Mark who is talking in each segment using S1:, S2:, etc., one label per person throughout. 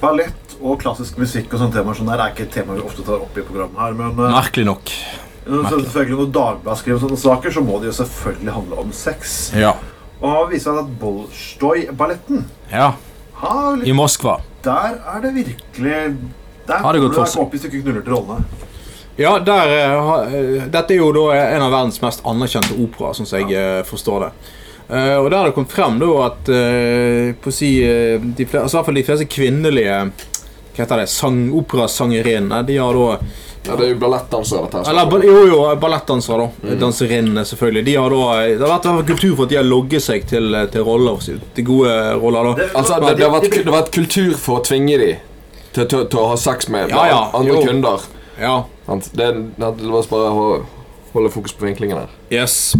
S1: ballett og klassisk musikk og sånne temaer sånn der er ikke et tema vi ofte tar opp i programmet her. Men eh,
S2: Merkelig nok.
S1: når så selvfølgelig når Dagbladet skriver sånne saker, så må det jo selvfølgelig handle om sex.
S2: Ja.
S1: Og viser seg at Bolsjtoj-balletten
S2: ja.
S1: har
S2: I
S1: litt-
S2: Moskva.
S1: Der er det virkelig Der
S2: Har det gått
S1: kommer
S2: for
S1: deg opp hvis du ikke knuller til rollene.
S2: Ja, der, eh, ha- eh, Dette er jo da en av verdens mest anerkjente operaer, sånn som jeg eh, forstår det. Eh, og der har det kommet frem da at eh, på å si, eh, de, fle- altså, i hvert fall de fleste kvinnelige hva heter det, sang, operasangerinnene de har da
S3: Ja, det er jo ballettdansere, dette her.
S2: Eller ba- jo, jo, ballettdansere, da. Danserinnene, selvfølgelig. De har da, eh, det har vært i hvert fall kultur for at de har logget seg til, eh, til roller. så- Til gode roller, da.
S3: Altså, det, det, har vært, det har vært kultur for å tvinge dem til, til, til å ha sex med
S2: Ja, ja,
S3: andre
S2: jo.
S3: kunder.
S2: Ja.
S3: Sant? Det, er- det var bare å holde fokus på vinklingen her.
S2: Yes.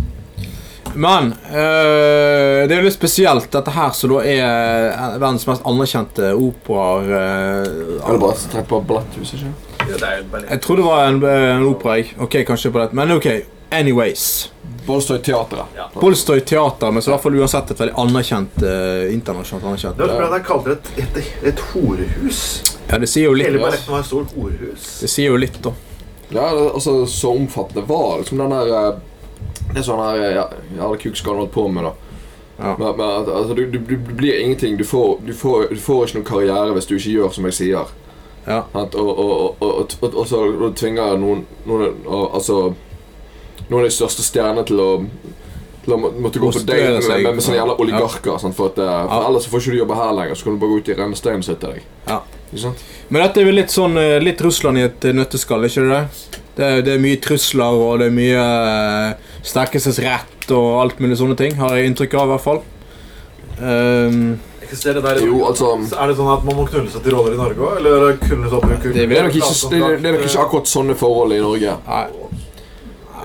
S2: Men eh, det er jo litt spesielt, dette her som da er eh, verdens mest anerkjente operaer eh,
S3: Eller bare trekke på balletthuset, ikke
S1: Ja, det er jo ballett.
S2: Jeg trodde det var en, eh, en opera, jeg. Ok, kanskje på dette, men ok. Anyways.
S3: Bolstøy Teatret. Ja.
S2: Bolstøy teater, men så i hvert fall uansett et veldig anerkjent eh, internasjonalt anerkjent.
S1: Det var fordi jeg kalte det et, et, et horehus.
S2: Ja, det sier jo
S1: Hele
S2: litt.
S1: balletten var et stort horehus.
S2: Det sier jo litt, da.
S3: det- altså, så omfattende var liksom den der eh, Det som den der eh, ja, jævla kukskaden holdt på med, da.
S2: Ja.
S3: Men, men at- altså, du, du, du blir ingenting. Du får, du, får, du får ikke noen karriere hvis du ikke gjør som jeg sier.
S2: Ja.
S3: Sant? Og, og, og, og, og, og så og tvinger noen, noen og, Altså Noen av de største stjernene til å til å må- måtte gå på
S2: Prostituere
S3: date med,
S2: seg.
S3: med, med sånne jævla oligarker. Sant? For, at, eh,
S2: Ja.
S3: for Ellers så får ikke du jobbe her lenger. Så kan du bare gå ut i rennesteinen og sitte deg.
S2: Ja.
S3: Ikke sant?
S2: Men dette er vel litt sånn eh, litt Russland i et eh, nøtteskall, ikke det? Det er, det er mye trusler, og det er mye eh, sterkelsesrett og alt mulig sånne ting, har jeg inntrykk av, i hvert fall. Ehm,
S1: Eksisterer det der i
S3: Jo, altså
S1: Så er det sånn at man må knulle seg til roller i Norge òg? Eller knulle seg opp i
S2: Det
S3: det er, nok ikke, det, er- det er nok ikke akkurat sånne forhold i Norge.
S2: nei,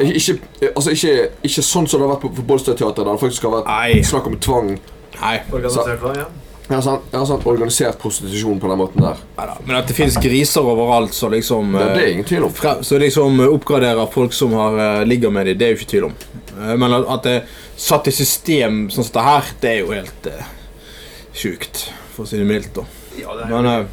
S3: Ikke, ikke- altså ikke, ikke sånn som det har vært på, på Bolstø Teater, der det faktisk har vært
S2: nei,
S3: snakk om tvang. sånn,
S2: nei.
S1: Organisert da, ja.
S3: Ja, sant? Ja, sant? Organisert prostitusjon på den måten der.
S2: Neida. Men at det fins griser overalt, så liksom
S3: Det,
S2: eh,
S3: det er ingen tvil om.
S2: Fra- Så liksom eh, oppgraderer folk som har, eh, ligger med dem, det er jo ikke tvil om. Eh, Men at at det er satt i system sånn som det her, det er jo helt uh, sjukt, for å si det mildt. da.
S1: ja det er,
S2: Men eh,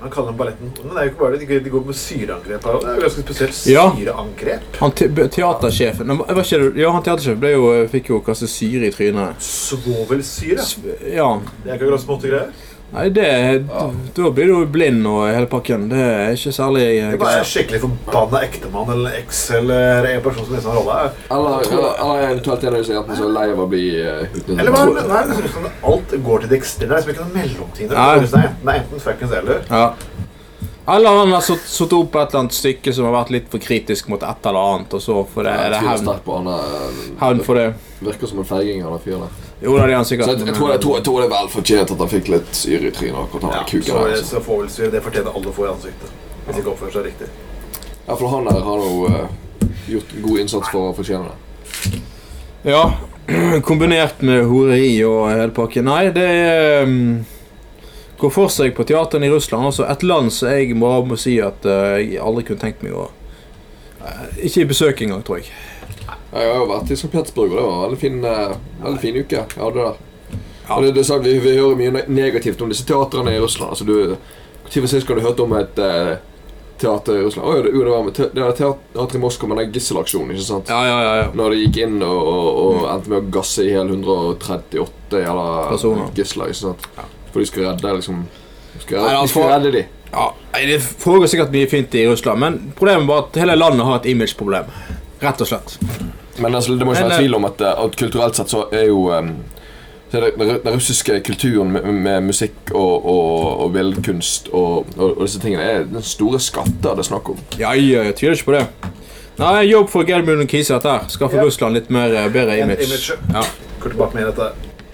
S1: man kaller den balletten Men det er jo ikke bare det. De- De går med syreangrep her òg. Det er jo ganske spesielt
S2: Ja.
S1: syreangrep.
S2: han te be- teatersjefen nei, var ikke det, Ja, han teatersjefen ble jo, eh, fikk jo kaste syre i trynet.
S1: Svovelsyre.
S2: S- Ja.
S1: Det er ikke akkurat småtte greier.
S2: Nei, det Da da blir du jo blind og hele pakken. Det er ikke særlig eh,
S1: Det er bare en skikkelig forbanna ektemann eller eks eller en person som nesten har rolle.
S3: Eller, eller, eller eventuelt en av disse jentene som er lei av å bli eh,
S1: Eller bare,
S3: utnyttet.
S1: det er liksom sånn at alt går til det ekstreme. Det er liksom ikke noen mellomting. Det
S2: Nei.
S1: er liksom enten, det er enten fuckings eller.
S2: Ja. Eller han har satt satt opp et eller annet stykke som har vært litt for kritisk mot et eller annet, og så får det,
S3: Jeg
S2: er det
S3: tviler
S2: hevn,
S3: sterkt på han eh,
S2: hevn for det.
S3: Virker som en feiging, han der fyren der.
S2: Jo, da, det er han
S3: Så
S2: sikkert.
S3: jeg, jeg, tror, jeg, tror, jeg tror det er vel fortjent at han fikk litt syre i trynet. akkurat han der kuken
S1: så,
S3: der, altså.
S1: så svovelsyre, det fortjener alle å få i ansiktet. Hvis ikke oppfører seg riktig.
S3: Ja, for han der har jo eh, gjort god innsats for å fortjene det.
S2: Ja, kombinert med horeri og hele pakken. Nei, det er, mm, går for seg på teateren i Russland. Altså et land som jeg bare må si at eh, jeg aldri kunne tenkt meg å eh, Ikke i besøk engang, tror jeg.
S3: Jeg har jo vært i St. Petersburg, og det var en veldig fin, eh, veldig fin uke jeg hadde der.
S2: Ja.
S3: Og det, det er sant, vi, vi hører mye ne- negativt om disse teatrene i Russland. Altså, du, hvor tid for sist har du hørt om et eh, teater i Russland? Å, ja, det, jo, det var med te, det var teater i Moskva med den gisselaksjonen, ikke sant?
S2: Ja, ja, ja. ja.
S3: Når de gikk inn og, og, og endte med å gasse i hele 138 jævla
S2: Personer.
S3: gisler. ikke sant? For de skulle redde liksom de skulle
S2: Nei,
S3: redde,
S2: altså-
S3: de skulle redde de.
S2: ja nei, det foregår sikkert mye fint i Russland, men problemet var at hele landet har et imageproblem. Rett og slett.
S3: Men altså, det må ikke
S2: Men,
S3: være tvil om at, eh, at kulturelt sett så er jo eh, så er det, den ru- den russiske kulturen med, med musikk og, og, og billedkunst og, og, og disse tingene er den store skatter det er snakk om.
S2: Ja, ja, jeg tviler ikke på det. Nei, jobb for Gerd Mulen Kise, dette her. Skaffe
S1: Ja.
S2: Russland litt mer eh, bedre
S1: En
S2: image.
S1: image.
S2: Ja.
S1: Går tilbake med dette.